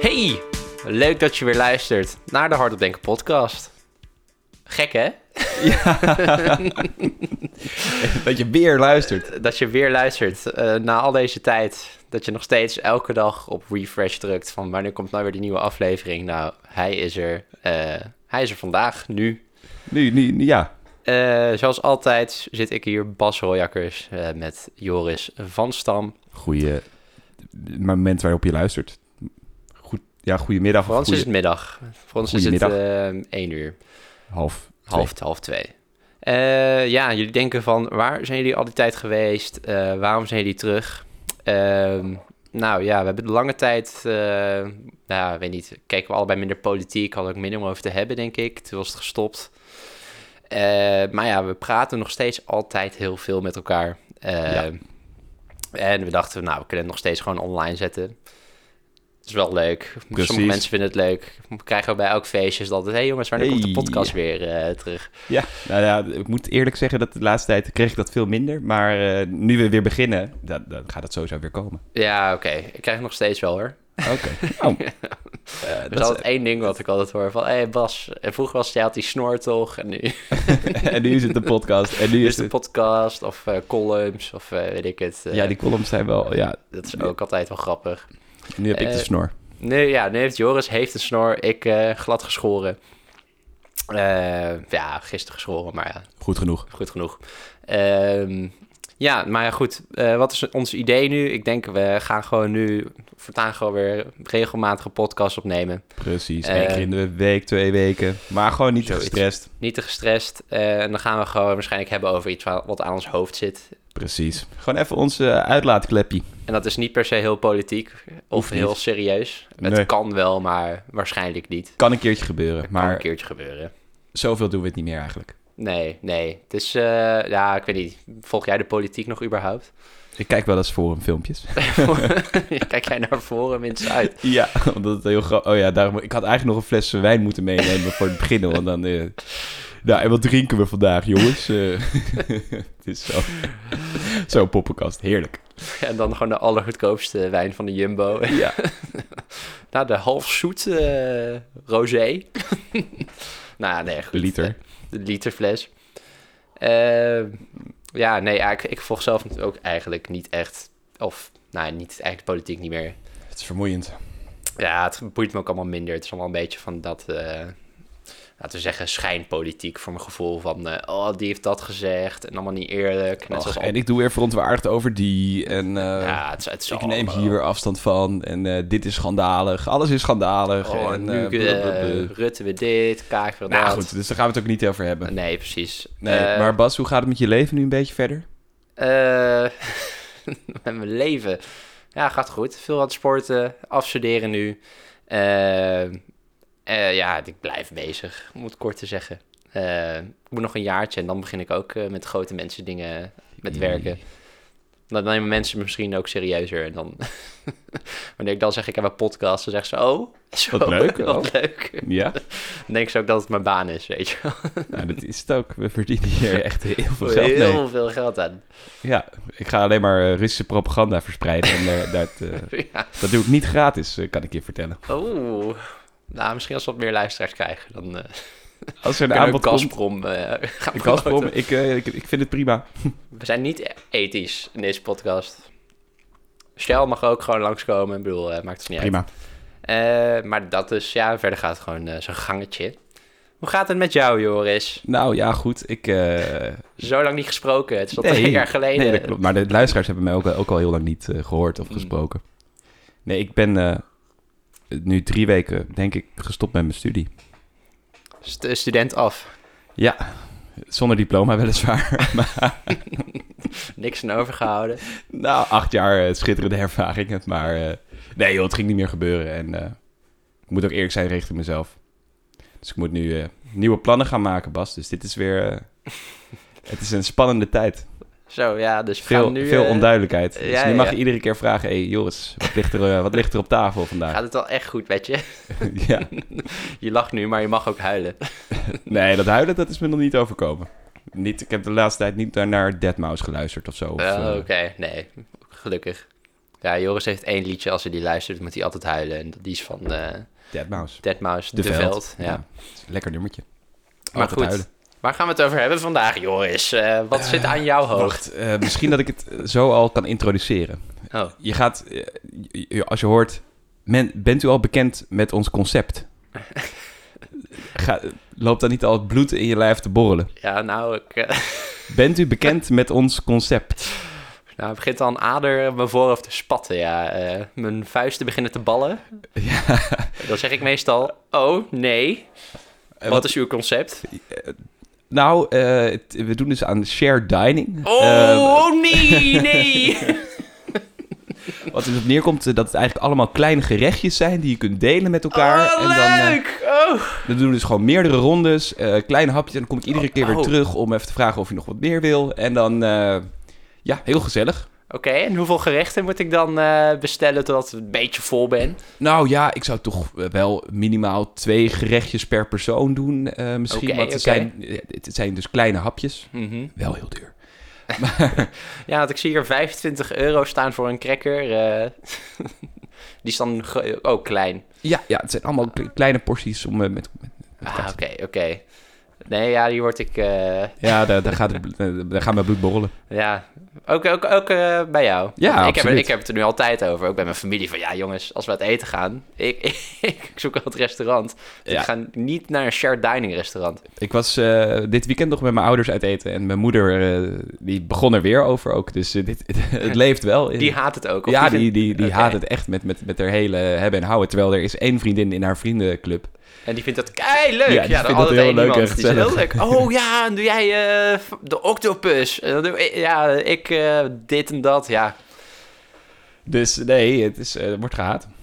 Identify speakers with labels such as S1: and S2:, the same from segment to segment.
S1: Hey, leuk dat je weer luistert naar de Hardop Denken podcast. Gek hè?
S2: Dat je weer luistert.
S1: Dat je weer luistert eh, na al deze tijd. Dat je nog steeds elke dag op refresh drukt van wanneer komt nou weer die nieuwe aflevering. Nou, hij is er. eh, hij is er vandaag, nu.
S2: Nu, nu, nu- ja.
S1: Eh, zoals altijd zit ik hier, Bas Royakkers, eh, met Joris van Stam.
S2: Goeie het moment waarop je luistert. Goed, ja, goedemiddag
S1: Voor
S2: of
S1: ons is
S2: goeie,
S1: het middag. Voor ons is het eh, één uur.
S2: half. twee.
S1: Half, half twee. Eh, ja, jullie denken van waar zijn jullie al die tijd geweest? Eh, waarom zijn jullie terug? Ehm, nou ja, we hebben de lange tijd, eh, nou ja, weet niet, keken we allebei minder politiek, hadden ook minder om over te hebben, denk ik. Toen was het gestopt. Eh, maar ja, we praten nog steeds altijd heel veel met elkaar. Eh,
S2: Ja.
S1: En we dachten, nou, we kunnen het nog steeds gewoon online zetten. Het is wel leuk. Sommige
S2: Precies.
S1: mensen vinden het leuk. We krijgen ook bij elk feestje dat hé hey jongens, wanneer komt de
S2: Hey.
S1: podcast weer eh, terug?
S2: Ja, nou ja, ik moet eerlijk zeggen dat de laatste tijd kreeg ik dat veel minder. Maar eh, nu we weer beginnen, dan, dan gaat het sowieso weer komen.
S1: Ja, oké. Ik krijg het nog steeds wel hoor.
S2: Oké. Oh. Eh,
S1: Er is
S2: dat
S1: altijd één ding wat ik altijd hoor van... Hé hey Bas, en vroeger was het, jij had die snor toch? En nu is
S2: is- en nu is het de podcast. En nu is
S1: de
S2: het...
S1: podcast of eh, columns of eh, weet ik het. eh,
S2: Ja, die columns zijn wel... Ja,
S1: Dat is ook altijd wel grappig.
S2: nu heb ik de
S1: Eh,
S2: snor.
S1: Nee, ja, nee, heeft Joris heeft een snor. Ik eh, glad geschoren. Eh, ja, gisteren geschoren, maar ja,
S2: Goed genoeg.
S1: goed genoeg. Ehm, ja, maar ja, goed. eh, wat is ons idee nu? Ik denk, we gaan gewoon nu voortaan gewoon weer regelmatige podcast opnemen.
S2: Precies.
S1: Eh,
S2: Eén keer in de week, twee weken. Maar gewoon niet
S1: Zoiets.
S2: gestrest.
S1: Niet te gestrest. eh, en dan gaan we gewoon waarschijnlijk hebben over iets wa- wat aan ons hoofd zit.
S2: Precies. Gewoon even ons eh, uitlaatklepje.
S1: En dat is niet per se heel politiek of
S2: Hoeft niet.
S1: heel serieus. Het
S2: Nee.
S1: kan wel, maar waarschijnlijk niet.
S2: Kan een keertje gebeuren.
S1: Maar... Kan
S2: Maar
S1: een keertje gebeuren.
S2: zoveel doen we het niet meer eigenlijk.
S1: Nee, nee. Het is, eh, ja, ik weet niet. Volg jij de politiek nog überhaupt?
S2: Ik kijk wel eens voor filmpjes.
S1: Kijk jij naar voren minstens uit?
S2: Ja, omdat het heel grappig... Oh ja, daarom... Ik had eigenlijk nog een fles wijn moeten meenemen voor het beginnen. Want dan... eh, Nou, en wat drinken we vandaag, jongens? Eh, het is zo... Zo'n poppenkast. Heerlijk.
S1: En dan gewoon de allergoedkoopste wijn van de Jumbo.
S2: Ja.
S1: nou, de halfzoete eh rosé. nou, nee, goed.
S2: De liter.
S1: De literfles. Eh, ja, nee, ja, ik, ik volg zelf ook eigenlijk niet echt. Of, nou, niet eigenlijk de politiek niet meer.
S2: Het is vermoeiend.
S1: Ja, het boeit me ook allemaal minder. Het is allemaal een beetje van dat, eh, laten we zeggen, schijnpolitiek voor mijn gevoel. Van, eh, oh, die heeft dat gezegd en allemaal niet eerlijk. Net
S2: Och,
S1: zoals
S2: en ik doe weer verontwaardigd over die. En eh,
S1: ja, het, is- het is
S2: ik neem
S1: allemaal-
S2: hier weer afstand van. En eh, dit is schandalig. Alles is schandalig.
S1: Oh,
S2: en,
S1: nu
S2: eh,
S1: eh,
S2: blablabla.
S1: Rutte weer dit, Kaag weer
S2: Nou
S1: dat.
S2: goed, dus daar gaan we het ook niet over hebben.
S1: Nee, precies.
S2: Nee,
S1: Eh,
S2: maar Bas, hoe gaat het met je leven nu een beetje verder?
S1: Eh, met mijn leven. Ja, gaat goed. Veel aan het sporten, afstuderen nu. Eh, eh, ja, ik blijf bezig, om het kort te zeggen. Eh, ik moet nog een jaartje en dan begin ik ook eh, met grote mensen dingen met werken. Dan nemen mensen me misschien ook serieuzer. En dan, wanneer ik dan zeg, ik heb een podcast, dan zeggen ze, oh, zo,
S2: Wat leuk,
S1: wat leuk.
S2: Ja,
S1: Dan denken ze ook dat het mijn baan is, weet je wel.
S2: nou, dat is het ook. We verdienen hier echt heel veel geld
S1: Heel
S2: mee.
S1: veel geld aan.
S2: Ja, ik ga alleen maar eh, Russische propaganda verspreiden. En, eh, dat, eh,
S1: Ja.
S2: dat doe ik niet gratis, eh, kan ik je vertellen.
S1: Oeh. Nou, misschien als we wat meer luisteraars krijgen, dan eh
S2: Als er een
S1: kunnen we
S2: aanbod komt...
S1: Gazprom eh, gaan
S2: Ik, was
S1: promoten.
S2: voor- ik, eh, ik, ik vind het prima.
S1: We zijn niet ethisch in deze podcast. Shell mag ook gewoon langskomen. Ik bedoel, eh, maakt het niet
S2: Prima.
S1: uit. Eh, maar dat is, ja, verder gaat het gewoon eh, zo'n gangetje. Hoe gaat het met jou, Joris?
S2: Nou ja, goed. Ik, eh,
S1: Zo lang niet gesproken. Het is al
S2: Nee.
S1: twee jaar geleden.
S2: Nee, dat klopt. Maar de luisteraars hebben mij ook, ook al heel lang niet eh, gehoord
S1: Mm.
S2: of gesproken. Nee, ik ben eh, nu drie weken, denk ik, gestopt met mijn studie.
S1: St- student af.
S2: Ja, zonder diploma weliswaar.
S1: Niks aan overgehouden.
S2: nou, acht jaar eh, schitterende ervaringen. Maar eh, nee joh, het ging niet meer gebeuren. En eh, ik moet ook eerlijk zijn richting mezelf. Dus ik moet nu eh, nieuwe plannen gaan maken, Bas. Dus dit is weer... eh, het is een spannende tijd.
S1: Zo, ja, dus we
S2: Veel,
S1: gaan nu,
S2: veel
S1: eh,
S2: onduidelijkheid.
S1: ja,
S2: Dus nu mag
S1: ja.
S2: je iedere keer vragen... Hé hey, Joris, wat ligt, er, eh, wat ligt er op tafel vandaag?
S1: Gaat het wel echt goed, weet je?
S2: ja.
S1: Je lacht nu, maar je mag ook huilen.
S2: Nee, dat huilen, dat is me nog niet overkomen. Niet, eh, ik heb de laatste tijd niet naar- naar Deadmau geluisterd of zo. Of,
S1: Oh,
S2: eh,
S1: Oké, nee. Gelukkig. Ja, Joris heeft één liedje, als hij die luistert, moet hij altijd huilen. En die is van eh
S2: Deadmau5.
S1: Dead Mouse, De, Veld. Ja.
S2: Lekker nummertje.
S1: Maar goed, waar gaan we het over hebben vandaag, Joris? Eh, wat zit aan jouw hoofd?
S2: Wacht, eh, misschien dat ik het eh, zo al kan introduceren.
S1: Oh,
S2: Je gaat, eh, je- je- als je hoort, men, bent u al bekend met ons concept? Ga, loopt dan niet al het bloed in je lijf te borrelen?
S1: ja, nou, ik, eh,
S2: Bent u bekend met ons concept?
S1: nou het begint al een ader op mijn voorhoofd te spatten, ja. Eh, mijn vuisten beginnen te ballen.
S2: Ja,
S1: Dan zeg ik meestal, oh, nee,
S2: eh,
S1: wat is uw concept?
S2: Nou, eh, het- we doen dus aan shared dining.
S1: Oh,
S2: Eh,
S1: oh, nee, nee.
S2: wat er op neerkomt eh, dat het eigenlijk allemaal kleine gerechtjes zijn die je kunt delen met elkaar.
S1: oh,
S2: en dan, eh,
S1: leuk. oh.
S2: dan doen we dus gewoon meerdere rondes, eh kleine hapjes. En dan kom ik iedere keer weer
S1: Oh.
S2: terug om even te vragen of je nog wat meer wil. En dan, eh, ja, heel gezellig.
S1: Oké, en hoeveel gerechten moet ik dan eh, bestellen totdat ik een beetje vol ben?
S2: Nou ja, ik zou toch eh, wel minimaal twee gerechtjes per persoon doen eh, misschien.
S1: Oké,
S2: want het,
S1: oké.
S2: zijn, eh, het zijn dus kleine hapjes. Wel heel duur.
S1: Ja, want ik zie hier 25 euro staan voor een cracker. eh. die is dan ge- ook klein.
S2: Ja, ja, het zijn allemaal kle- kleine porties om eh, met... met met
S1: Ah,
S2: elkaar
S1: oké,
S2: te-
S1: oké. Nee, ja, die word ik... eh,
S2: Ja, daar, daar, gaat het, bl- eh, daar gaan mijn bloed borrelen.
S1: ja, ook, ook, ook eh, bij jou.
S2: Ja,
S1: ik heb, er-
S2: absoluut.
S1: ik heb het er nu altijd over, ook bij mijn familie. Van ja, jongens, als we uit eten gaan... Ik, ik zoek al het restaurant. Dus
S2: Ja.
S1: Ik ga niet naar een shared dining restaurant.
S2: Ik was eh, dit weekend nog met mijn ouders uit eten. En mijn moeder, eh, die begon er weer over ook. Dus eh, dit, het leeft wel.
S1: Die haat het ook. of
S2: ja,
S1: niet?
S2: die, die, die
S1: Oké.
S2: haat het echt met, met, met haar hele hebben en houden. Terwijl er is één vriendin in haar vriendenclub.
S1: En die vindt dat kei leuk.
S2: Ja,
S1: Ja,
S2: die
S1: dan
S2: vindt dat
S1: altijd
S2: heel
S1: één
S2: leuk
S1: iemand.
S2: en
S1: Die is heel leuk. Oh ja, en doe jij eh, de octopus? En dan doe ik- ja, ik eh, dit en dat. Ja.
S2: Dus nee, het is, eh, wordt gehaat.
S1: Maar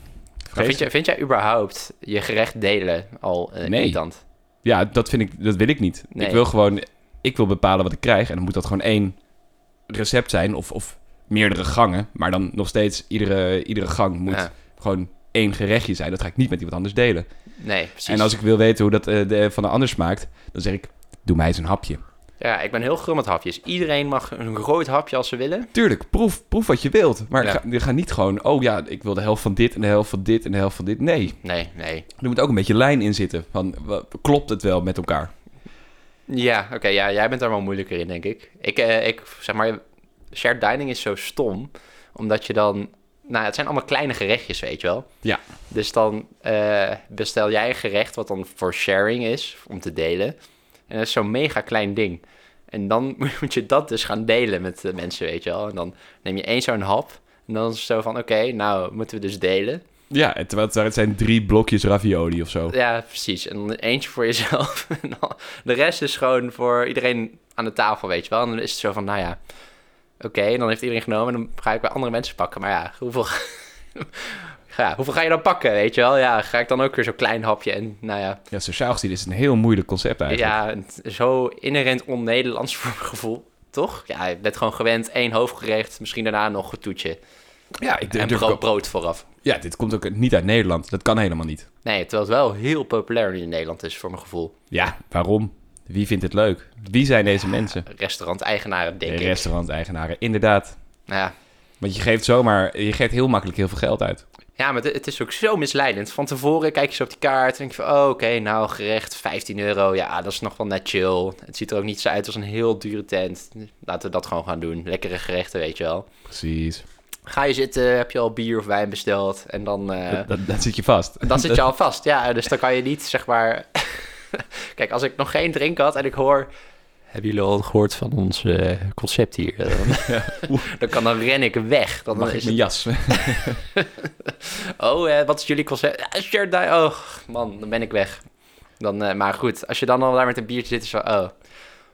S2: Vergeet
S1: Vind, jij, vind jij überhaupt je gerecht delen al eh
S2: Nee.
S1: irritant?
S2: het. Ja, dat, vind ik, dat wil ik niet.
S1: Nee.
S2: Ik wil gewoon... Ik wil bepalen wat ik krijg. En dan moet dat gewoon één recept zijn. Of, of meerdere gangen. Maar dan nog steeds iedere, iedere gang moet
S1: Ja.
S2: gewoon één gerechtje zijn. Dat ga ik niet met iemand anders delen.
S1: Nee, precies.
S2: En als ik wil weten hoe dat eh, de, van de ander smaakt, dan zeg ik, doe mij eens een hapje.
S1: Ja, ik ben heel grum met hapjes. Iedereen mag een rood hapje als ze willen.
S2: Tuurlijk, proef, proef wat je wilt. Maar
S1: Ja.
S2: ga, je gaat niet gewoon, oh ja, ik wil de helft van dit en de helft van dit en de helft van dit. Nee,
S1: Nee, nee.
S2: er moet ook een beetje lijn in zitten. Van, wa- klopt het wel met elkaar?
S1: Ja, oké. ja, jij bent daar wel moeilijker in, denk ik. Ik, eh, ik zeg maar, shared dining is zo stom. Omdat je dan... Nou, het zijn allemaal kleine gerechtjes, weet je wel.
S2: Ja.
S1: Dus dan eh, bestel jij een gerecht wat dan voor sharing is, om te delen. En dat is zo'n mega klein ding. En dan moet je dat dus gaan delen met de mensen, weet je wel. En dan neem je één zo'n hap. En dan is het zo van, oké, nou moeten we dus delen.
S2: Ja, en terwijl het, het zijn drie blokjes ravioli of zo.
S1: Ja, precies. En dan eentje voor jezelf. En dan- de rest is gewoon voor iedereen aan de tafel, weet je wel. En dan is het zo van, nou ja, oké. en dan heeft iedereen genomen en dan ga ik bij andere mensen pakken. Maar ja, hoeveel... Ja, hoeveel ga je dan pakken, weet je wel? Ja, ga ik dan ook weer zo'n klein hapje en nou ja...
S2: Ja, sociaal gezien is het een heel moeilijk concept eigenlijk.
S1: Ja, het is zo inherent on-Nederlands voor mijn gevoel, toch? Ja, je bent gewoon gewend, één hoofdgerecht, misschien daarna nog een toetje.
S2: Ja, ik
S1: en
S2: durf
S1: brood,
S2: ook-
S1: brood vooraf.
S2: ja, dit komt ook niet uit Nederland. Dat kan helemaal niet.
S1: Nee, terwijl het wel heel populair in Nederland is, voor mijn gevoel.
S2: Ja, waarom? Wie vindt het leuk? Wie zijn deze mensen?
S1: Restaurant-eigenaren,
S2: De
S1: denk ik.
S2: restauranteigenaren, inderdaad.
S1: Ja.
S2: Want je geeft zomaar, je geeft heel makkelijk heel veel geld uit.
S1: ja, maar het- het is ook zo misleidend. Van tevoren kijk je zo op die kaart en denk je van... Oh, oké, nou, gerecht, 15 euro. Ja, dat is nog wel net chill. Het ziet er ook niet zo uit als een heel dure tent. Laten we dat gewoon gaan doen. Lekkere gerechten, weet je wel.
S2: Precies.
S1: Ga je zitten, heb je al bier of wijn besteld en dan... eh,
S2: Dat, dat, dat zit je vast.
S1: Dan zit je al vast, ja. Dus dan kan je niet, zeg maar... Kijk, als ik nog geen drink had en ik hoor... Hebben jullie al gehoord van ons eh, concept hier? Dan, dan, kan, dan ren ik weg. Dan
S2: Mag ik
S1: is
S2: mijn jas?
S1: het, oh, eh, wat is jullie concept? Ja, shirt die. Oh, man, dan ben ik weg. Dan, eh, maar goed, als je dan al daar met een biertje zit, is van... Oh,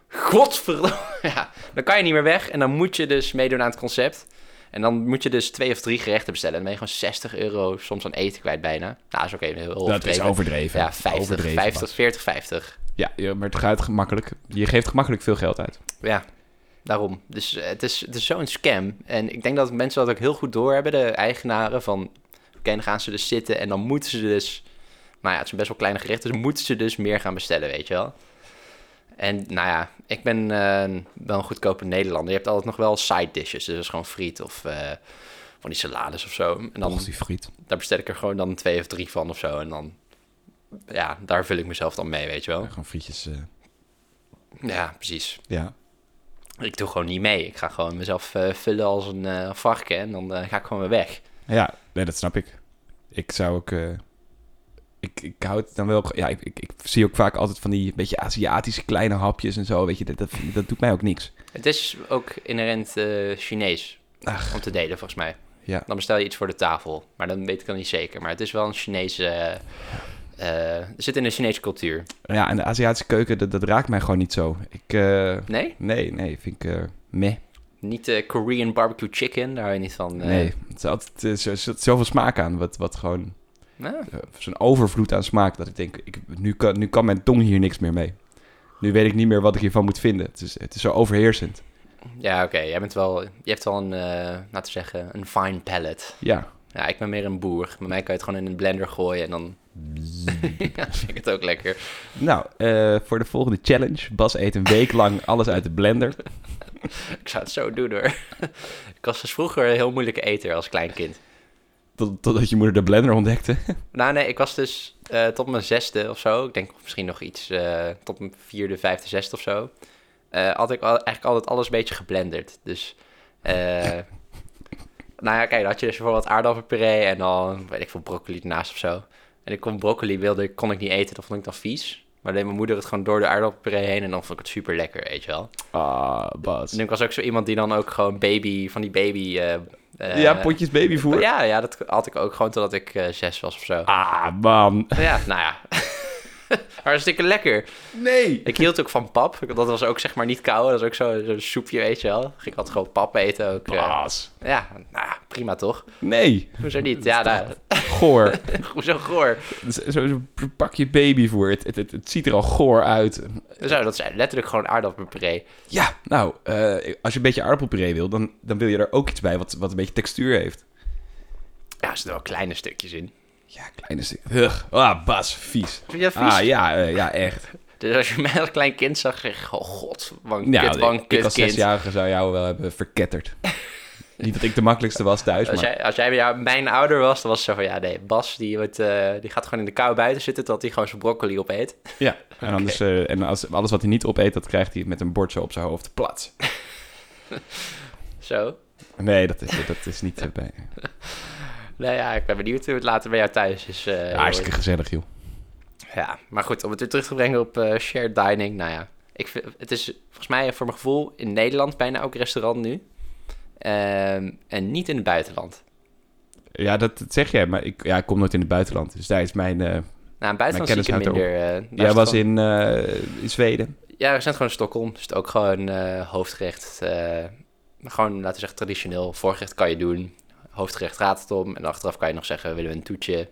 S1: godverdomme. Ja, dan kan je niet meer weg. En dan moet je dus meedoen aan het concept. En dan moet je dus twee of drie gerechten bestellen. Dan ben je gewoon 60 euro soms aan eten kwijt bijna. Nou, is oké. heel
S2: Dat is
S1: overdreven.
S2: overdreven.
S1: Ja, 50,
S2: Overdreven,
S1: 50,
S2: Bas.
S1: 40, 50.
S2: Ja, ja, maar het gaat gemakkelijk. Je geeft gemakkelijk veel geld uit.
S1: Ja, daarom. Dus eh, het is, het is zo'n scam. En ik denk dat mensen dat ook heel goed doorhebben, de eigenaren. Van, oké, dan gaan ze dus zitten en dan moeten ze dus... Nou ja, het is een best wel kleine gerecht, dus moeten ze dus meer gaan bestellen, weet je wel. En nou ja, ik ben eh, wel een goedkope Nederlander. Je hebt altijd nog wel side dishes. Dus dat is gewoon friet of eh, van die salades of zo. En dan,
S2: Och, die friet.
S1: daar bestel ik er gewoon dan twee of drie van of zo. En dan, ja, daar vul ik mezelf dan mee, weet je wel.
S2: Ja, gewoon frietjes. eh,
S1: Ja, precies.
S2: ja.
S1: Ik doe gewoon niet mee. Ik ga gewoon mezelf eh, vullen als een eh, varken en dan eh, ga ik gewoon weer weg.
S2: Ja, nee, dat snap ik. Ik zou ook... eh, ik, ik hou het dan wel op... Ja, ik, ik, ik zie ook vaak altijd van die beetje Aziatische kleine hapjes en zo. Weet je, dat, dat, dat doet mij ook niks.
S1: Het is ook inherent eh, Chinees
S2: Ach.
S1: om te delen, volgens mij.
S2: Ja.
S1: Dan bestel je iets voor de tafel, maar dan weet ik dan niet zeker. Maar het is wel een Chinese... eh, eh, het zit in de Chinese cultuur.
S2: Ja, en de Aziatische keuken, dat, dat raakt mij gewoon niet zo. Ik... eh,
S1: Nee?
S2: nee, nee, vind ik... eh, meh.
S1: Niet eh, Korean barbecue chicken, daar hou je niet van. eh.
S2: Nee. Het is altijd, eh, zo- er zit zoveel smaak aan, wat, wat gewoon...
S1: Nou,
S2: eh, zo'n overvloed aan smaak dat ik denk, ik, nu, kan, nu kan mijn tong hier niks meer mee. Nu weet ik niet meer wat ik hiervan moet vinden. Het is, het is zo overheersend.
S1: ja, oké. Jij bent wel... Je hebt wel een, eh, laten we zeggen, een fine palate.
S2: Ja,
S1: Ja, ik ben meer een boer. Bij mij kan je het gewoon in een blender gooien en dan... ja, vind ik het ook lekker.
S2: nou, eh, voor de volgende challenge. Bas eet een week lang alles uit de blender.
S1: Ik zou het zo doen hoor. ik was dus vroeger een heel moeilijke eter als klein kind.
S2: Tot, totdat je moeder de blender ontdekte.
S1: Nou nee, ik was dus eh, tot mijn zesde of zo. Ik denk misschien nog iets eh, tot mijn vierde, vijfde, zesde of zo. Eh had ik al, eigenlijk altijd alles een beetje geblenderd. Dus, eh, nou ja, kijk, dan had je dus bijvoorbeeld aardappelpuree en dan, weet ik veel, broccoli ernaast of zo. En ik kon broccoli wilde, ik- kon ik niet eten, dat vond ik dan vies. Maar deed mijn moeder het gewoon door de aardappelpuree heen en dan vond ik het super lekker, weet je wel.
S2: Ah, Bas.
S1: En ik was ook zo iemand die dan ook gewoon baby, van die baby... eh, eh,
S2: ja, potjes babyvoer.
S1: Ja, ja, dat had ik ook gewoon totdat ik eh, zes was of zo.
S2: Ah, man.
S1: Ja, nou ja. Hartstikke lekker.
S2: Nee.
S1: Ik hield ook van pap. Dat was ook zeg maar niet koud. Dat was ook zo- zo'n soepje, weet je wel. Ging ik altijd gewoon pap eten ook. eh.
S2: Bas.
S1: Ja, nou ja, prima toch?
S2: Nee.
S1: Hoezo niet? Ja, nou,
S2: Goor.
S1: hoezo goor?
S2: Zo- Zo'n pakje babyvoer. Het, het, het, het ziet er al goor uit.
S1: Zo, dat zijn letterlijk gewoon aardappelpuree.
S2: Ja, nou, eh, als je een beetje aardappelpuree wil, dan, dan wil je er ook iets bij wat, wat een beetje textuur heeft.
S1: Ja, er zitten wel kleine stukjes in.
S2: Ja, kleine stuk. Ugh. Ah, Bas, vies.
S1: Vind je dat vies?
S2: Ah, ja, eh, ja, echt.
S1: Dus als je mij als klein kind zag, zeg je, oh god, wank,
S2: Nou,
S1: kut, wank,
S2: ik, ik
S1: kut,
S2: als
S1: kind.
S2: zesjarige zou jou wel hebben verketterd. Niet dat ik de makkelijkste was thuis,
S1: Als
S2: maar...
S1: jij, als jij bij jou- mijn ouder was, dan was het zo van, ja nee, Bas die, wordt, eh, die gaat gewoon in de kou buiten zitten tot hij gewoon zijn broccoli opeet.
S2: Ja, en, anders, eh, en als, alles wat hij niet opeet, dat krijgt hij met een bord zo op zijn hoofd plat.
S1: Zo.
S2: Nee, dat is, dat is niet... eh, bij...
S1: Nou ja, ik ben benieuwd hoe het later bij jou thuis is. eh,
S2: Ja, hartstikke gezellig, joh.
S1: Ja, maar goed, om het weer terug te brengen op eh, shared dining. Nou ja, ik vind, het is volgens mij voor mijn gevoel in Nederland bijna ook restaurant nu. Ehm, en niet in het buitenland.
S2: Ja, dat, dat zeg jij, maar ik, ja, ik kom nooit in het buitenland. Dus daar is mijn... eh,
S1: Nou, in het buitenland zie
S2: Mijn
S1: ik het
S2: kennis houdt
S1: minder. eh, daar is
S2: jij
S1: het
S2: was
S1: gewoon-
S2: in, eh, in Zweden.
S1: Ja, we zijn gewoon in Stockholm. Dus het ook gewoon eh, hoofdgerecht. eh, gewoon, laten we zeggen, traditioneel. Voorgerecht kan je doen. Hoofdgerecht gaat het om. En achteraf kan je nog zeggen, willen we een toetje?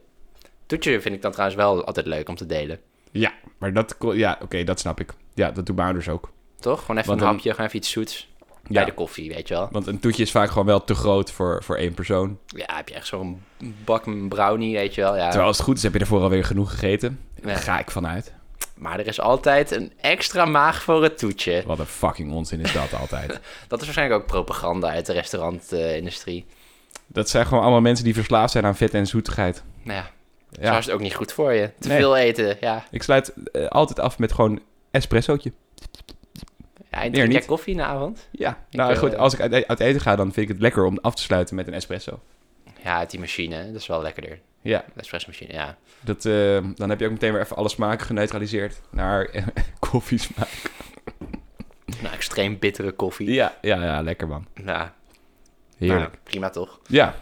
S1: Toetje vind ik dan trouwens wel altijd leuk om te delen.
S2: Ja, maar dat... kon- Ja, oké, dat snap ik. Ja, dat doen mijn ouders ook.
S1: Toch? Gewoon even
S2: Want
S1: een
S2: dan-
S1: hapje, gewoon even iets zoets. Bij
S2: Ja,
S1: de koffie, weet je wel.
S2: want een toetje is vaak gewoon wel te groot voor, voor één persoon.
S1: Ja, heb je echt zo'n bak met een brownie, weet je wel. Ja.
S2: Terwijl als het goed is, heb je ervoor alweer genoeg gegeten.
S1: Ja.
S2: Daar ga ik vanuit.
S1: Maar er is altijd een extra maag voor het toetje.
S2: Wat een fucking onzin is dat altijd.
S1: Dat is waarschijnlijk ook propaganda uit de restaurantindustrie.
S2: Dat zijn gewoon allemaal mensen die verslaafd zijn aan vet en zoetigheid.
S1: nou ja, zo
S2: Ja,
S1: is het ook niet goed voor je. Te
S2: Nee.
S1: veel eten, ja.
S2: ik sluit eh, altijd af met gewoon espressootje.
S1: ja en
S2: Meer
S1: drink jij
S2: niet.
S1: koffie in de avond?
S2: Ja,
S1: Ik,
S2: nou
S1: eh,
S2: goed, als ik uit, uit eten ga, dan vind ik het lekker om af te sluiten met een espresso.
S1: Ja, uit die machine. Dat is wel lekkerder.
S2: Ja,
S1: De espressomachine, ja.
S2: dat, eh, dan heb je ook meteen weer even alle smaken geneutraliseerd naar eh, koffiesmaak.
S1: Nou, extreem bittere koffie.
S2: Ja, ja, ja, lekker man.
S1: Nou,
S2: Heerlijk.
S1: nou, prima toch?
S2: Ja,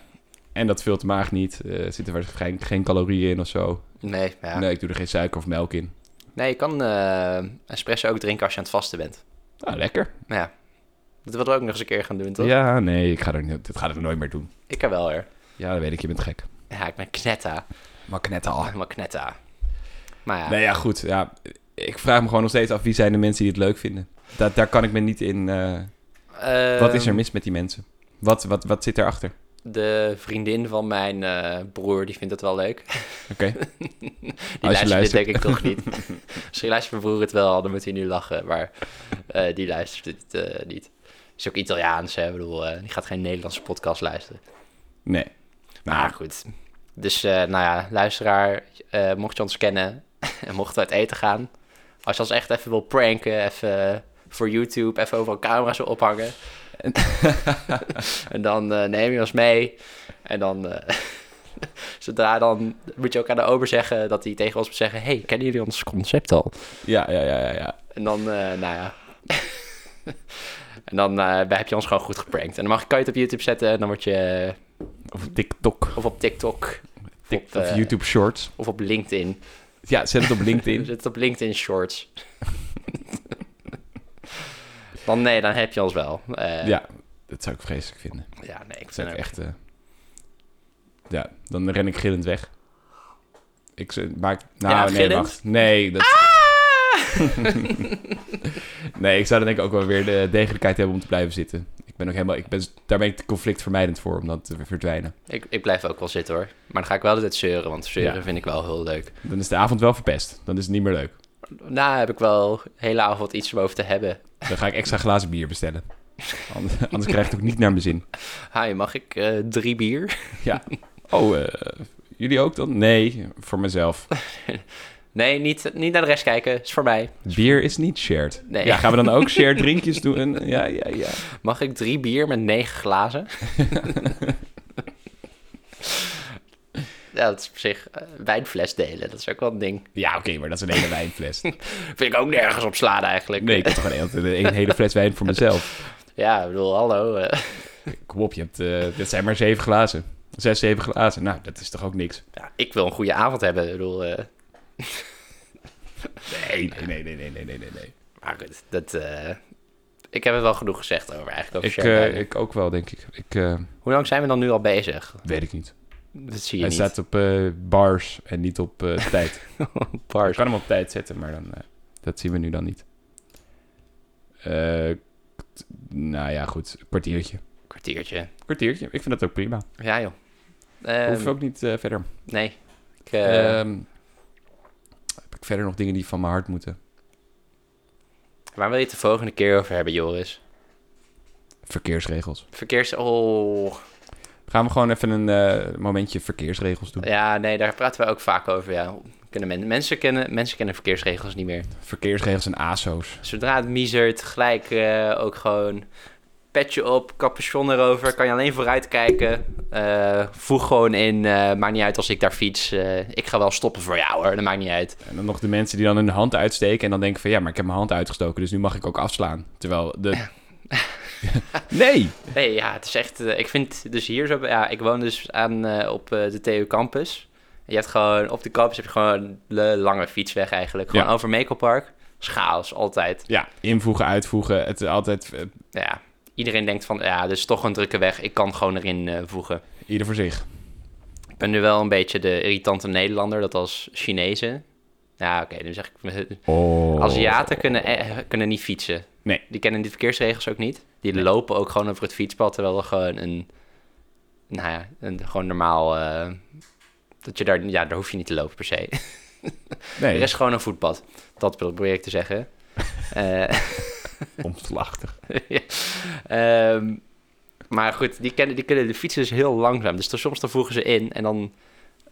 S2: en dat vult de maag niet. Eh, Er zitten waarschijnlijk geen calorieën in of zo.
S1: Nee, ja. nee.
S2: Nee, ik doe er geen suiker of melk in.
S1: je kan eh, espresso ook drinken als je aan het vasten bent.
S2: Nou, lekker.
S1: Nou ja, dat wilden we ook nog eens een keer gaan doen, toch?
S2: Ja, nee, ik ga er, niet- dit gaat er nooit meer doen.
S1: Ik kan wel, hoor.
S2: Ja, dat weet ik, je bent gek.
S1: Ja, ik ben knetta.
S2: Maar net al.
S1: Helemaal knetta. Maar ja,
S2: Nee, ja, goed. Ja, ik vraag me gewoon nog steeds af, wie zijn de mensen die het leuk vinden? Dat, daar kan ik me niet in... eh,
S1: ehm,
S2: wat is er mis met die mensen? Wat, wat, wat zit erachter?
S1: De vriendin van mijn eh, broer, die vindt het wel leuk.
S2: Oké,
S1: Die
S2: Als je
S1: luistert,
S2: luistert.
S1: dit denk ik toch niet. Misschien luistert mijn broer het wel, dan moet hij nu lachen. Maar eh, die luistert het eh, niet. Is ook Italiaans, hè. Ik bedoel, eh, die gaat geen Nederlandse podcast luisteren.
S2: Nee. Nou,
S1: Maar goed. Dus, eh, nou ja, luisteraar, eh, mocht je ons kennen en mochten we uit eten gaan. Als je ons echt even wil pranken, even voor YouTube, even overal camera's wil ophangen. En, dan eh, neem je ons mee. En dan, eh, zodra dan, moet je ook aan de ober zeggen dat hij tegen ons moet zeggen... hey, kennen jullie ons concept al?
S2: Ja, ja, ja, ja. ja.
S1: En dan, eh, nou ja. en dan eh, heb je ons gewoon goed geprankt. En dan mag, kan je het op YouTube zetten en dan word je...
S2: Of TikTok.
S1: Of op TikTok,
S2: Tik-
S1: Op,
S2: of
S1: eh,
S2: YouTube Shorts.
S1: of op LinkedIn.
S2: Ja, zet het op
S1: Je
S2: LinkedIn.
S1: zit op LinkedIn Shorts. dan nee, dan heb je ons wel. Eh,
S2: ja, dat zou ik vreselijk vinden.
S1: ja, nee, ik
S2: Ik zou
S1: vind
S2: het
S1: ook...
S2: echt... eh, Ja, dan ren ik gillend weg. Ik z- maak... Nou,
S1: Ja,
S2: nee,
S1: gillend?
S2: wacht. Nee, dat...
S1: Ah!
S2: nee, ik zou dan denk ik ook wel weer de degelijkheid hebben om te blijven zitten. Ik ben ook helemaal... Ik ben, daar ben ik conflictvermijdend voor, om dan te verdwijnen.
S1: Ik, ik blijf ook wel zitten hoor. Maar dan ga ik wel altijd zeuren, want zeuren
S2: Ja.
S1: vind ik wel heel leuk.
S2: Dan is de avond wel verpest. Dan is het niet meer leuk.
S1: Nou heb ik wel de hele avond iets om over te hebben.
S2: Dan ga ik extra glazen bier bestellen. Anders, anders krijg ik het ook niet naar mijn zin.
S1: Hi, mag ik eh, drie bier?
S2: Oh, eh, jullie ook dan? Nee, voor mezelf.
S1: Nee, niet, niet naar de rest kijken. Is voor mij.
S2: Bier is niet shared.
S1: Nee.
S2: Ja, gaan we dan ook shared drinkjes doen? Ja, ja, ja.
S1: Mag ik drie bier met negen glazen? ja, dat is op zich eh, wijnfles delen. Dat is ook wel een ding.
S2: Ja, oké, maar dat is een hele wijnfles.
S1: Vind ik ook nergens op slaan eigenlijk.
S2: Nee, ik heb toch een, hele- een hele fles wijn voor mezelf.
S1: Ja, ik bedoel, hallo. eh.
S2: Kom op, je hebt, eh dit zijn maar zeven glazen. Zes, zeven glazen. Nou, dat is toch ook niks?
S1: Ja, ik wil een goede avond hebben. Ik bedoel, eh,
S2: Nee, nee, nee, nee, nee, nee, nee. nee.
S1: maar goed, dat, eh, ik heb het wel genoeg gezegd over eigenlijk. Over
S2: Ik,
S1: shared
S2: eh,
S1: riding.
S2: ik ook wel, denk ik. Ik eh,
S1: Hoe lang zijn we dan nu al bezig?
S2: weet ik niet.
S1: Dat zie je
S2: Hij
S1: niet.
S2: staat op eh, bars en niet op eh, tijd. Ik
S1: Bars.
S2: kan hem op tijd zetten, maar dan, eh, dat zien we nu dan niet. Eh, t- nou ja, goed. Kwartiertje.
S1: kwartiertje.
S2: Kwartiertje. Ik vind dat ook prima.
S1: Ja, joh. Ehm,
S2: Hoef ook niet eh, verder.
S1: Nee. Ik, eh,
S2: Ehm, heb ik verder nog dingen die van mijn hart moeten?
S1: waar wil je het de volgende keer over hebben, Joris?
S2: Verkeersregels.
S1: Verkeers... Oh...
S2: Gaan we gewoon even een eh, momentje verkeersregels doen?
S1: Ja, nee, daar praten we ook vaak over. Ja. Kunnen men- mensen, kennen, mensen kennen verkeersregels niet meer.
S2: Verkeersregels en ASO's.
S1: Zodra het miezert, gelijk eh, ook gewoon petje op, capuchon erover. Kan je alleen vooruit kijken. Eh, voeg gewoon in, eh, maakt niet uit als ik daar fiets. Eh, ik ga wel stoppen voor jou hoor, dat maakt niet uit.
S2: En dan nog de mensen die dan hun hand uitsteken en dan denken van... Ja, maar ik heb mijn hand uitgestoken, dus nu mag ik ook afslaan. Terwijl de... nee!
S1: Nee, ja, het is echt... eh, ik vind dus hier zo... Ja, ik woon dus aan, eh, op eh, de TU Campus. En je hebt gewoon... Op de campus heb je gewoon een lange fietsweg eigenlijk. Gewoon
S2: Ja.
S1: over Mekelpark. Schaals, altijd.
S2: Ja, invoegen, uitvoegen. Het is altijd eh,
S1: Ja, iedereen denkt van... Ja, dit is toch een drukke weg. Ik kan gewoon erin eh, voegen.
S2: ieder voor zich.
S1: Ik ben nu wel een beetje de irritante Nederlander, dat als Chinezen. Ja, oké, dan zeg ik.
S2: Oh.
S1: Aziaten kunnen, eh, kunnen niet fietsen.
S2: Nee.
S1: Die kennen die verkeersregels ook niet. Die
S2: Nee.
S1: lopen ook gewoon over het fietspad, terwijl er gewoon een. Nou ja, een, gewoon normaal. eh, dat je daar. Ja, daar hoef je niet te lopen per se.
S2: Nee,
S1: Er is gewoon een voetpad. Dat probeer ik te zeggen. Eh
S2: omslachtig.
S1: Ja. Ehm, maar goed, die, kennen, die kunnen de fietsen dus heel langzaam. Dus dan- soms dan voegen ze in en dan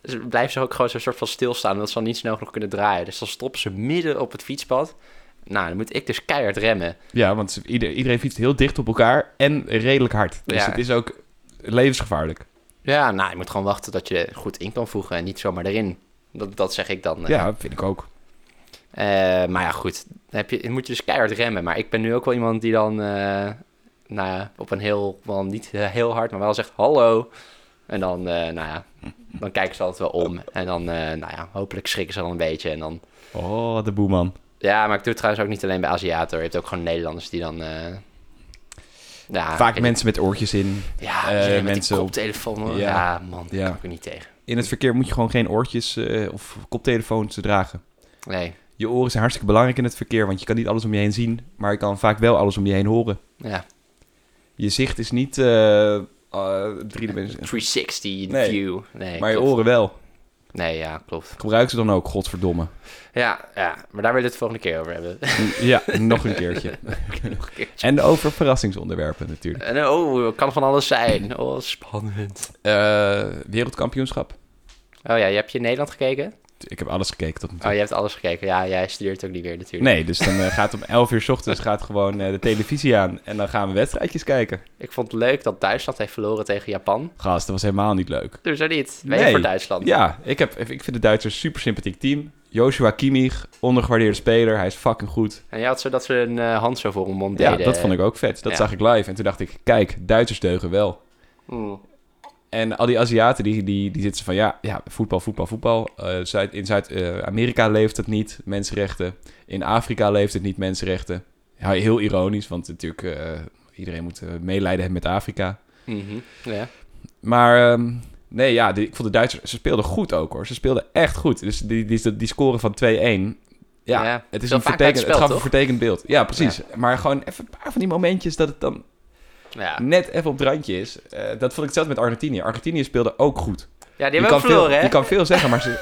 S1: ze- blijven ze ook gewoon zo'n soort van stilstaan. Omdat ze dan niet snel genoeg kunnen draaien. Dus dan stoppen ze midden op het fietspad. Nou, dan moet ik dus keihard remmen.
S2: Ja, want ze- ieder- iedereen fietst heel dicht op elkaar en redelijk hard. Dus
S1: Ja.
S2: het is ook levensgevaarlijk.
S1: Ja, nou, je moet gewoon wachten dat je goed in kan voegen en niet zomaar erin. Dat, dat zeg ik dan. eh.
S2: Ja, vind ik ook.
S1: Eh, maar ja, goed. Dan heb je, dan moet je dus keihard remmen. Maar ik ben nu ook wel iemand die dan eh, nou ja, op een heel, wel niet eh, heel hard, maar wel zegt hallo. En dan, eh, nou ja, dan kijken ze altijd wel om. En dan, eh, nou ja, hopelijk schrikken ze dan een beetje. En dan,
S2: Oh, de boeman.
S1: ja, maar ik doe het trouwens ook niet alleen bij Aziaten. hoor. Je hebt ook gewoon Nederlanders die dan... eh, ja,
S2: Vaak
S1: ik-
S2: mensen met oortjes in.
S1: Ja,
S2: eh,
S1: iedereen met
S2: mensen
S1: die
S2: op-
S1: koptelefoon. hoor.
S2: Ja.
S1: Ja, man,
S2: Ja.
S1: daar kan ik er niet tegen.
S2: In het verkeer moet je gewoon geen oortjes eh, of koptelefoons dragen.
S1: Nee,
S2: Je oren zijn hartstikke belangrijk in het verkeer, want je kan niet alles om je heen zien, maar je kan vaak wel alles om je heen horen.
S1: ja,
S2: Je zicht is niet eh eh, drie dimensioneel,
S1: 360
S2: Nee.
S1: view. Nee,
S2: maar je
S1: klopt.
S2: oren wel.
S1: Nee, ja, klopt.
S2: Gebruik ze dan ook, godverdomme.
S1: Ja, ja, maar daar wil ik het volgende keer over hebben.
S2: Ja, nog een keertje.
S1: Nog een keertje.
S2: En over verrassingsonderwerpen natuurlijk.
S1: En, oh, het kan van alles zijn. Oh, spannend.
S2: Eh, wereldkampioenschap.
S1: Oh ja, je hebt je in Nederland gekeken?
S2: Ik heb alles gekeken tot nu toe.
S1: Oh, je hebt alles gekeken. Ja, jij studeert ook niet weer natuurlijk.
S2: Nee, dus dan eh, gaat om 11 uur 's ochtends gaat gewoon eh, de televisie aan. En dan gaan we wedstrijdjes kijken.
S1: Ik vond het leuk dat Duitsland heeft verloren tegen Japan.
S2: Gast, dat was helemaal niet leuk.
S1: Doe zo niet. Ben je
S2: Nee.
S1: voor Duitsland?
S2: Ja, ik, heb, ik vind de Duitsers een super sympathiek team. Joshua Kimmich, ondergewaardeerde speler. Hij is fucking goed.
S1: En je had zo dat ze een eh, hand zo voor hun mond
S2: Ja,
S1: deden.
S2: dat vond ik ook vet. Dat
S1: Ja.
S2: zag ik live. En toen dacht ik, kijk, Duitsers deugen wel.
S1: Mm.
S2: En al die Aziaten, die, die, die zitten van ja, ja, voetbal, voetbal, voetbal. Eh, Zuid, in Zuid-Amerika leeft het niet, mensenrechten. In Afrika leeft het niet, mensenrechten. Ja, heel ironisch, want natuurlijk, eh, iedereen moet eh, meelijden met Afrika.
S1: Mhm. Ja.
S2: Maar ehm, nee, ja, die- ik vond de Duitsers, ze speelden goed ook hoor. Ze speelden echt goed. Dus die, die, die scoren van 2-1. Ja,
S1: Ja,
S2: het is
S1: wel
S2: een
S1: vaak bij het
S2: vertekend, het
S1: spel,
S2: gaf een
S1: toch?
S2: vertekend beeld. Ja, precies. Maar gewoon even een paar van die momentjes dat het dan
S1: Ja.
S2: net even op het randje is. Eh, dat vond ik hetzelfde met Argentinië. Argentinië speelde ook goed.
S1: ja, die
S2: je,
S1: hebben
S2: kan
S1: ook verloren, hè?
S2: veel, je kan veel zeggen, maar ze,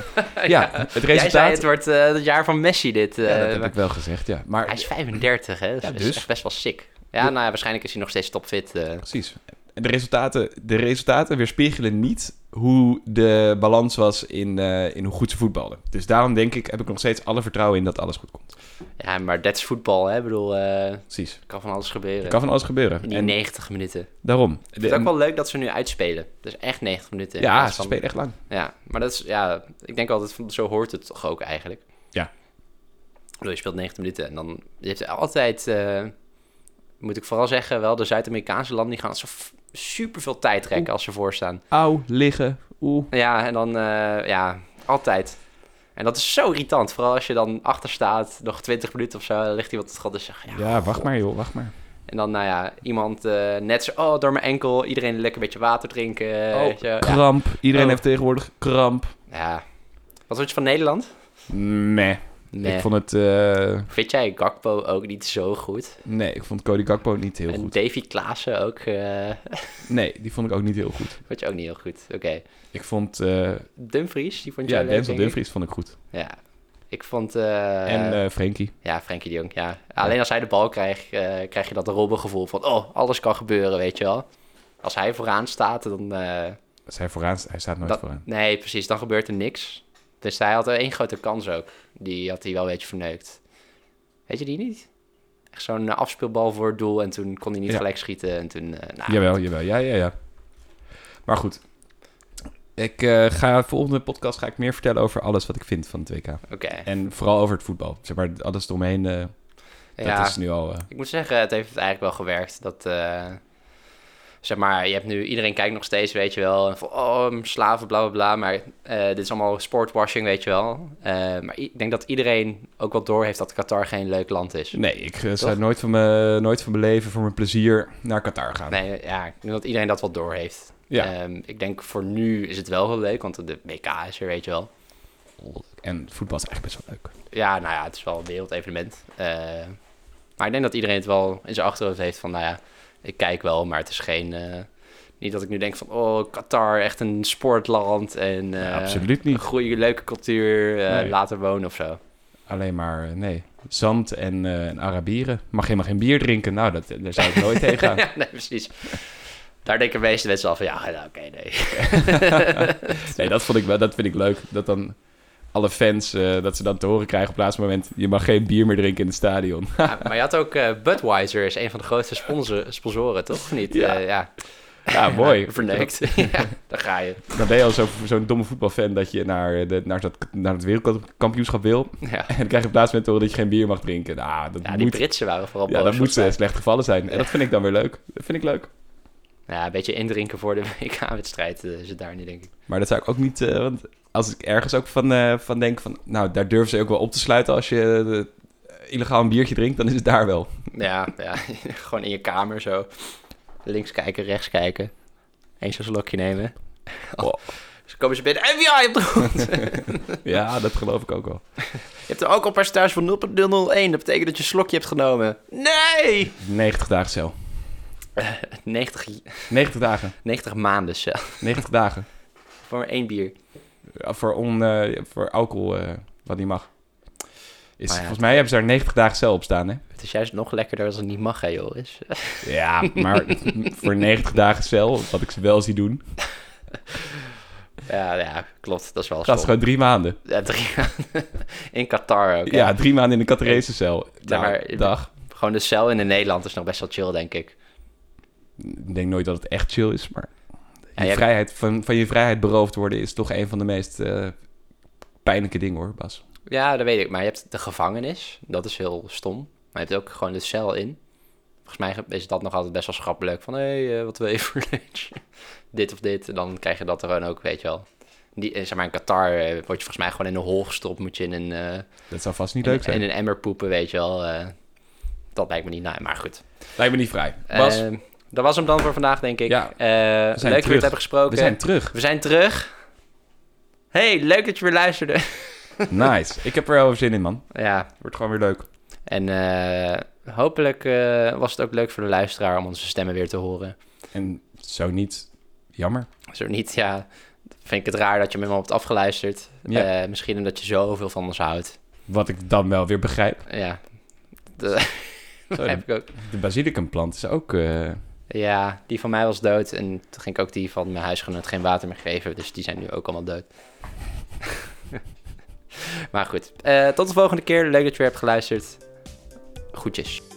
S2: ja, het
S1: Jij zei,
S2: resultaat...
S1: het wordt eh, het jaar van Messi dit. eh,
S2: ja, dat heb ik wel gezegd, ja. Maar
S1: Hij is 35, hè? Dat
S2: Ja,
S1: is
S2: dus.
S1: echt best wel sick. Ja, nou ja, waarschijnlijk is hij nog steeds topfit. eh.
S2: precies. En De resultaten, de resultaten weerspiegelen niet hoe de balans was in, eh, in hoe goed ze voetbalden. Dus daarom denk ik, heb ik nog steeds alle vertrouwen in dat alles goed komt.
S1: Ja, maar dat is voetbal, hè? Ik bedoel, eh,
S2: Precies.
S1: kan van alles gebeuren.
S2: Er kan van alles
S1: In
S2: gebeuren.
S1: die
S2: En
S1: 90 minuten.
S2: daarom.
S1: Ik vind het ook wel leuk dat ze nu uitspelen. Dus echt 90 minuten. in
S2: ja,
S1: plaats
S2: ze
S1: van-
S2: spelen echt lang.
S1: Ja, maar dat is, ja, ik denk altijd, van, zo hoort het toch ook eigenlijk.
S2: Ja.
S1: Ik bedoel, je speelt 90 minuten en dan, je hebt altijd, eh, moet ik vooral zeggen, wel de Zuid-Amerikaanse landen, die gaan zo super veel tijd trekken als ze voorstaan.
S2: Auw, liggen, oeh.
S1: Ja, en dan, eh, ja, altijd. En dat is zo irritant, vooral als je dan achter staat, nog 20 minuten of zo, dan ligt iemand het gat en zegt, ja,
S2: Ja, wacht maar joh, wacht maar.
S1: En dan, nou ja, iemand eh, net zo, oh, door mijn enkel, iedereen lekker een beetje water drinken.
S2: Oh.
S1: weet je. Ja.
S2: Kramp. Iedereen
S1: Oh.
S2: heeft tegenwoordig kramp.
S1: Ja. Wat vond je van Nederland?
S2: Meh.
S1: Nee.
S2: Ik vond het... eh,
S1: Vind jij Gakpo ook niet zo goed?
S2: nee, ik vond Cody Gakpo niet heel
S1: en
S2: goed.
S1: Davy Klaassen ook, eh
S2: Nee, die vond ik ook niet heel goed.
S1: vond je ook niet heel goed. Oké.
S2: Ik vond... eh,
S1: Dumfries, die vond jij
S2: ja,
S1: leuk,
S2: Denzel
S1: denk ik.
S2: Dumfries vond ik goed.
S1: Ja. Ik vond, eh,
S2: en eh Frenkie.
S1: ja, Frenkie de Jong, ja. Alleen als hij de bal krijgt, eh, krijg je dat robbengevoel van, oh, alles kan gebeuren, weet je wel. Als hij vooraan staat, dan... eh,
S2: Als hij, vooraan, hij staat nooit
S1: Dat-
S2: vooraan.
S1: Nee, precies. Dan gebeurt er niks. Dus hij had één grote kans ook. Die had hij wel een beetje verneukt. Weet je die niet? Echt zo'n eh, afspeelbal voor het doel en toen kon hij niet
S2: Ja.
S1: gelijk schieten. En toen, eh, nou,
S2: Jawel, jawel. Ja, ja, ja. Maar goed. Ik eh, ga volgende podcast ga ik meer vertellen over alles wat ik vind van het WK.
S1: oké.
S2: En vooral over het voetbal. Zeg maar, alles eromheen, eh,
S1: Ja,
S2: dat is nu al... eh,
S1: ik moet zeggen, het heeft eigenlijk wel gewerkt. Dat, eh, zeg maar, je hebt nu, iedereen kijkt nog steeds, weet je wel. En van, oh, slaven, bla, bla, bla. Maar eh, dit is allemaal sportwashing, weet je wel. Eh, maar i- ik denk dat iedereen ook wel door heeft dat Qatar geen leuk land is.
S2: Nee, ik eh, zou nooit van, mijn, nooit van mijn leven, voor mijn plezier, naar Qatar gaan.
S1: Nee, ja, ik denk dat iedereen dat wel door heeft.
S2: Ja.
S1: Ehm, ik denk voor nu is het wel heel leuk, want de WK is er, weet je wel.
S2: En voetbal is eigenlijk best wel leuk.
S1: Ja, nou ja, het is wel een wereldevenement. Eh, maar ik denk dat iedereen het wel in zijn achterhoofd heeft van, nou ja, ik kijk wel, maar het is geen... eh, niet dat ik nu denk van, oh, Qatar, echt een sportland en eh,
S2: Ja, absoluut
S1: een
S2: niet.
S1: goede, leuke cultuur, eh,
S2: Nee.
S1: later wonen of zo.
S2: Alleen maar, eh, nee. Zand en, eh, en Arabieren. Mag helemaal geen bier drinken. Nou, dat, daar zou ik nooit tegen gaan.
S1: Ja, nee, precies. Daar denken de meeste mensen al van, ja, nou, oké, nee.
S2: Nee, dat, vond ik wel, dat vind ik leuk. Dat dan alle fans, eh, dat ze dan te horen krijgen op het laatste moment... je mag geen bier meer drinken in het stadion.
S1: Ja, maar je had ook eh, Budweiser, is een van de grootste sponsor, sponsoren, toch? Of Niet?
S2: Ja.
S1: Eh, ja.
S2: Ja, mooi.
S1: Verneukt. ja, daar ga je.
S2: Dan ben je al zo- zo'n domme voetbalfan dat je naar, eh, de, naar, dat, naar het wereldkampioenschap wil.
S1: Ja,
S2: En dan krijg je op het laatste moment te horen dat je geen bier mag drinken. Nou, dat
S1: ja die
S2: moet
S1: Britsen waren vooral boos.
S2: Ja, dat moet
S1: volgens mij.
S2: ze slecht gevallen zijn. En dat vind ik dan weer leuk. Dat vind ik leuk.
S1: Ja, een beetje indrinken voor de WK-wedstrijd eh, is het daar niet, denk ik.
S2: Maar dat zou ik ook niet... eh, want als ik ergens ook van, eh, van denk van... Nou, daar durven ze ook wel op te sluiten als je eh, illegaal een biertje drinkt. Dan is het daar wel.
S1: Ja, ja gewoon in je kamer zo. Links kijken, rechts kijken. Eens een slokje nemen. Oh,
S2: Wow.
S1: Ze komen ze binnen. FBI op de grond.
S2: Ja, dat geloof ik ook wel.
S1: Je hebt er ook al een paar thuis van 0.001. Dat betekent dat je een slokje hebt genomen. Nee!
S2: 90 dagen cel.
S1: 90,
S2: 90 dagen.
S1: 90 maanden zelf.
S2: 90 dagen.
S1: Voor maar één bier.
S2: voor, on, eh, voor alcohol eh, wat niet mag. Is,
S1: Maar ja.
S2: Volgens mij hebben ze daar 90 dagen cel op staan, hè?
S1: Het is juist nog lekkerder als het niet mag, hè, eh, Joris?
S2: Ja, maar voor 90 dagen cel, wat ik ze wel zie doen,
S1: ja, ja, klopt. Dat is wel
S2: dat is
S1: stom.
S2: gewoon drie maanden.
S1: Ja, drie in Qatar ook. hè?
S2: Ja, drie maanden in de Catarese cel.
S1: Ja,
S2: Nou,
S1: maar-
S2: dag.
S1: Gewoon de cel in de Nederland is nog best wel chill, denk ik.
S2: Ik denk nooit dat het echt chill is, maar
S1: Ja,
S2: je
S1: jij-
S2: vrijheid, van, van je vrijheid beroofd worden is toch een van de meest eh, pijnlijke dingen, hoor, Bas.
S1: Ja, dat weet ik. Maar je hebt de gevangenis. Dat is heel stom. Maar je hebt ook gewoon de cel in. Volgens mij is dat nog altijd best wel schappelijk. Van, hé, eh, wat wil je voor lunch? dit of dit. En dan krijg je dat er gewoon ook, weet je wel. Die, eh, zeg maar, in Qatar eh, word je volgens mij gewoon in een hol gestopt. Moet je in een, eh,
S2: Dat zou vast niet
S1: in,
S2: leuk zijn.
S1: in een emmer poepen, weet je wel. eh. dat lijkt me niet naar, maar goed.
S2: Lijkt me niet vrij. Bas,
S1: Eh, dat was hem dan voor vandaag, denk ik.
S2: Ja,
S1: Eh, leuk dat
S2: zijn
S1: we het
S2: terug.
S1: hebben gesproken.
S2: we zijn terug.
S1: We zijn terug. Hey, leuk dat je weer luisterde.
S2: Nice. Ik heb er wel zin in, man.
S1: ja,
S2: Wordt gewoon weer leuk.
S1: en eh, hopelijk eh, was het ook leuk voor de luisteraar om onze stemmen weer te horen.
S2: En zo niet, jammer.
S1: Zo niet, ja, vind ik het raar dat je me helemaal hebt afgeluisterd.
S2: Ja.
S1: Eh, misschien omdat je zoveel van ons houdt.
S2: Wat ik dan wel weer begrijp.
S1: Ja, dat
S2: Zo,
S1: heb
S2: de,
S1: ik ook.
S2: de basilicumplant is ook... eh,
S1: Ja, die van mij was dood en toen ging ik ook die van mijn huisgenoot geen water meer geven. Dus die zijn nu ook allemaal dood. maar goed, eh, tot de volgende keer. Leuk dat je weer hebt geluisterd. Goedjes.